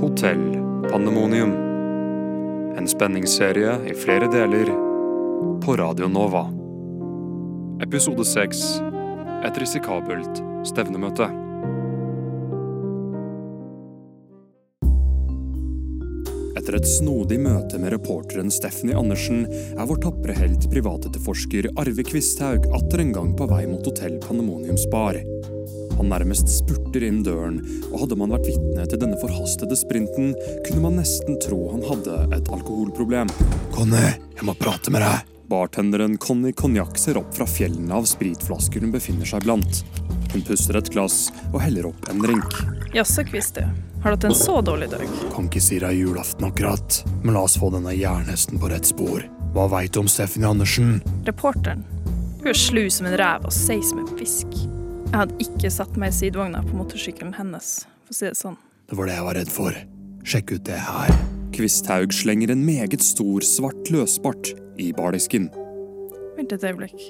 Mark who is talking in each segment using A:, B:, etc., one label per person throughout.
A: Hotell Pandemonium. En spenningsserie i flere deler på Radio Nova. Episode 6 Et risikabelt stevnemøte. Etter et snodig møte med reporteren Stephanie Andersen er vår tapre helt privatetterforsker Arve Kvisthaug atter en gang på vei mot Hotell Pandemoniums bar. Han nærmest spurter inn døren, og hadde man vært vitne til denne forhastede sprinten, kunne man nesten tro han hadde et alkoholproblem. Conny, jeg må prate med deg! Bartenderen Conny Konjakk ser opp fra fjellene av spritflasker hun befinner seg blant. Hun puster et glass og heller opp en drink.
B: Jaså, Kvisti. Har du hatt en så dårlig dag?
A: Kan ikke si deg julaften akkurat, men la oss få denne jernhesten på rett spor. Hva veit du om Stephanie Andersen?
B: Reporteren. Hun er slu som en rev og seig som en fisk. Jeg hadde ikke satt meg i sidevogna på motorsykkelen hennes, for å si det sånn.
A: Det var det jeg var redd for. Sjekk ut det her. Kvisthaug slenger en meget stor, svart løsbart i bardisken.
B: Vent et øyeblikk.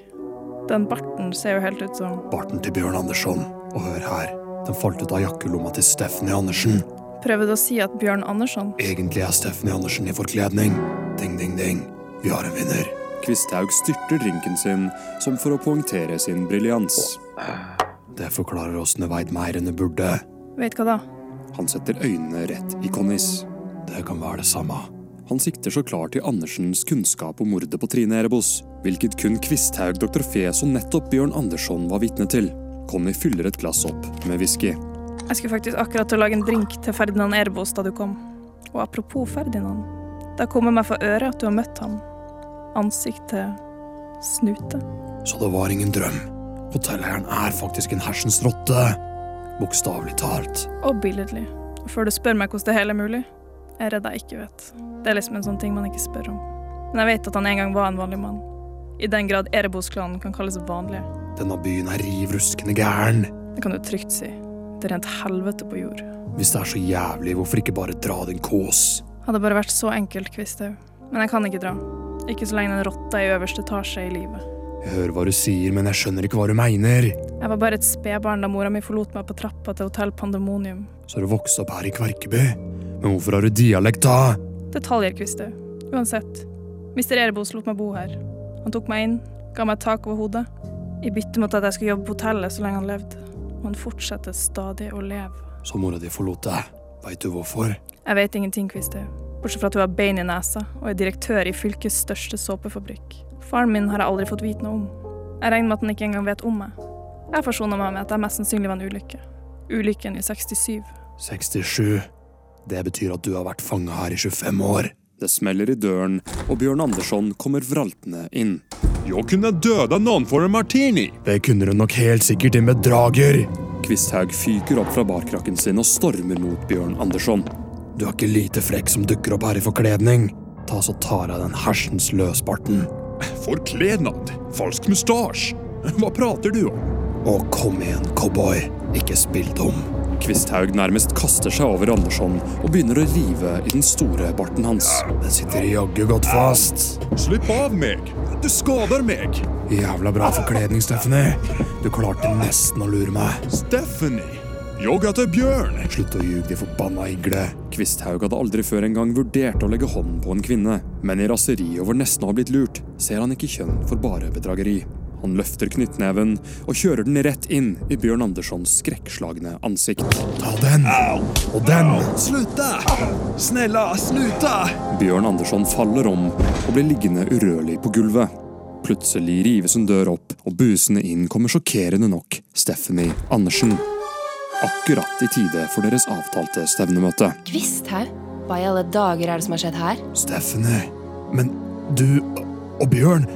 B: Den barten ser jo helt ut som
A: Barten til Bjørn Andersson. Og hør her, den falt ut av jakkelomma til Stephanie Andersen.
B: Prøver du å si at Bjørn Andersson
A: Egentlig er Stephanie Andersen i forkledning. Ding, ding, ding. Vi har en vinner. Kvisthaug styrter drinken sin, som for å poengtere sin briljans. Det forklarer åssen det veidmeirene burde.
B: Vet hva da?
A: Han setter øynene rett i Connys. Det kan være det samme. Han sikter så klart til Andersens kunnskap om mordet på Trine Erebos, hvilket kun Kvisthaug, Dr. Fes og nettopp Bjørn Andersson var vitne til. Conny fyller et glass opp med whisky.
B: Jeg skulle faktisk akkurat til å lage en drink til Ferdinand Erbos da du kom. Og apropos Ferdinand. Det har kommet meg for øret at du har møtt ham. Ansikt til snute.
A: Så det var ingen drøm. Hotelleieren er faktisk en hersens rotte. Bokstavelig talt.
B: Og billedlig. Og før du spør meg hvordan det hele er mulig, jeg er redd jeg ikke vet. Det er liksom en sånn ting man ikke spør om. Men jeg vet at han en gang var en vanlig mann. I den grad Erebos-klanen kan kalles vanlige.
A: Denne byen er riv ruskende gæren.
B: Det kan du trygt si. Det er rent helvete på jord.
A: Hvis det er så jævlig, hvorfor ikke bare dra din kås?
B: Hadde bare vært så enkelt, Kvisthaug. Men jeg kan ikke dra. Ikke så lenge den rotta i øverste etasje er i livet.
A: Jeg hører hva du sier, men jeg skjønner ikke hva du mener.
B: Jeg var bare et spedbarn da mora mi forlot meg på trappa til Hotell Pandemonium.
A: Så har du vokst opp her i Kverkeby. Men hvorfor har du dialekt, da?
B: Detaljer, Kvisthaug. Uansett. Mister Erebos lot meg bo her. Han tok meg inn, ga meg tak over hodet. I bytte mot at jeg skulle jobbe på hotellet så lenge han levde. Og han fortsetter stadig å leve.
A: Så mora di forlot deg. Veit du hvorfor?
B: Jeg vet ingenting, Kvisthaug. Bortsett fra at hun har bein i nesa og er direktør i fylkets største såpefabrikk. Faren min har jeg aldri fått vite noe om. Jeg regner med at han ikke engang vet om meg. Jeg forsona meg med at jeg mest sannsynlig var en ulykke. Ulykken i 67.
A: 67. Det betyr at du har vært fanga her i 25 år. Det smeller i døren, og Bjørn Andersson kommer vraltende inn.
C: Jag kunde döda någon för en martini.
A: Det kunne du nok helt sikkert, din bedrager. Kvisthaug fyker opp fra barkrakken sin og stormer mot Bjørn Andersson. Du er ikke lite frekk som dukker opp her i forkledning. Ta så tar jeg den hersens løsbarten.
C: Förklädnad. Falsk mustasch. Vad pratar du om?
A: Og kom igjen, cowboy. Ikke spill dum. Kvisthaug nærmest kaster seg over Andersson og begynner å rive i den store barten hans. Den sitter jaggu godt fast.
C: Slipp av meg! Du skadar meg!
A: Jævla bra forkledning, Stephanie. Du klarte nesten å lure meg.
C: Stephanie! Jag heter Björn.
A: Slutt å ljuge, de forbanna igle. Kvisthaug hadde aldri før engang vurdert å legge hånden på en kvinne, men i raseri over nesten å ha blitt lurt, ser han ikke kjønn for bare bedrageri. Han løfter knyttneven og kjører den rett inn i Bjørn Anderssons skrekkslagne ansikt. Ta den! Og den!
C: Sluta! Snälla, sluta!
A: Bjørn Andersson faller om og blir liggende urørlig på gulvet. Plutselig rives en dør opp, og busende inn kommer sjokkerende nok Stephanie Andersen. Akkurat i tide for deres avtalte stevnemøte.
D: Kvisthaug? Hva i alle dager er det som har skjedd her?
A: Stephanie, men du og Bjørn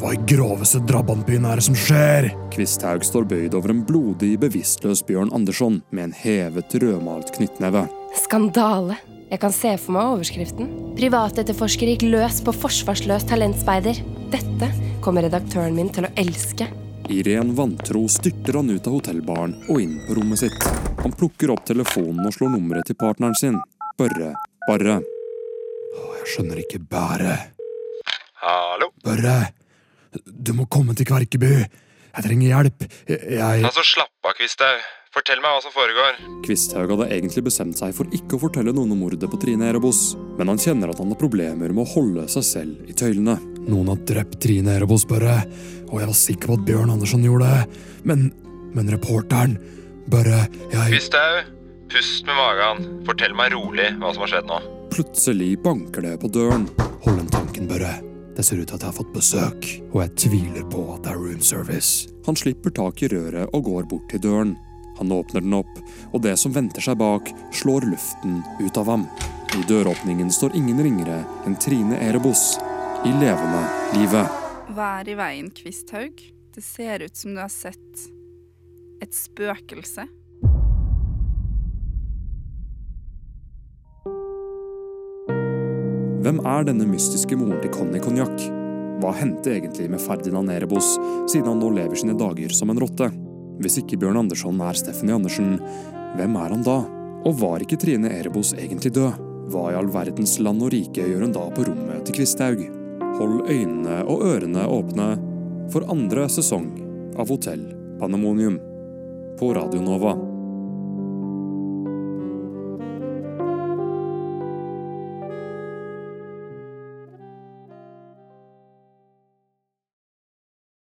A: Hva i groveste drabantbyen er det som skjer? Kvisthaug står bøyd over en blodig, bevisstløs Bjørn Andersson med en hevet, rødmalt knyttneve.
D: Skandale. Jeg kan se for meg overskriften. Privatetterforsker gikk løs på forsvarsløs talentspeider. Dette kommer redaktøren min til å elske.
A: I ren vantro styrter han ut av hotellbaren og inn på rommet sitt. Han plukker opp telefonen og slår nummeret til partneren sin, Børre Barre. Jeg skjønner ikke Bære.
E: Hallo?
A: Børre, du må komme til Kverkeby. Jeg trenger hjelp. Jeg
E: Altså, slapp av, Kvisthaug. Fortell meg hva som foregår.
A: Kvisthaug hadde egentlig bestemt seg for ikke å fortelle noen om mordet på Trine Erebos, men han kjenner at han har problemer med å holde seg selv i tøylene. Noen har drept Trine Erebos, Børre, og jeg var sikker på at Bjørn Andersen gjorde det, men Men reporteren Børre, jeg
E: Kvisthaug, pust med magen. Fortell meg rolig hva som har skjedd nå.
A: Plutselig banker det på døren. Hold den tanken, Børre. Det ser ut til at jeg har fått besøk, og jeg tviler på at det er room service. Han slipper tak i røret og går bort til døren. Han åpner den opp, og det som venter seg bak, slår luften ut av ham. I døråpningen står ingen ringere enn Trine Erebos i levende livet.
F: Vær i veien, Kvisthaug. Det ser ut som du har sett et spøkelse.
A: Hvem er denne mystiske moren til Conny Konjakk? Hva hendte egentlig med Ferdinand Erebos, siden han nå lever sine dager som en rotte? Hvis ikke Bjørn Andersson er Stephanie Andersen, hvem er han da? Og var ikke Trine Erebos egentlig død? Hva i all verdens land og rike gjør hun da på rommet til Kvisthaug? Hold øynene og ørene åpne for andre sesong av Hotell Pandemonium på Radio Nova.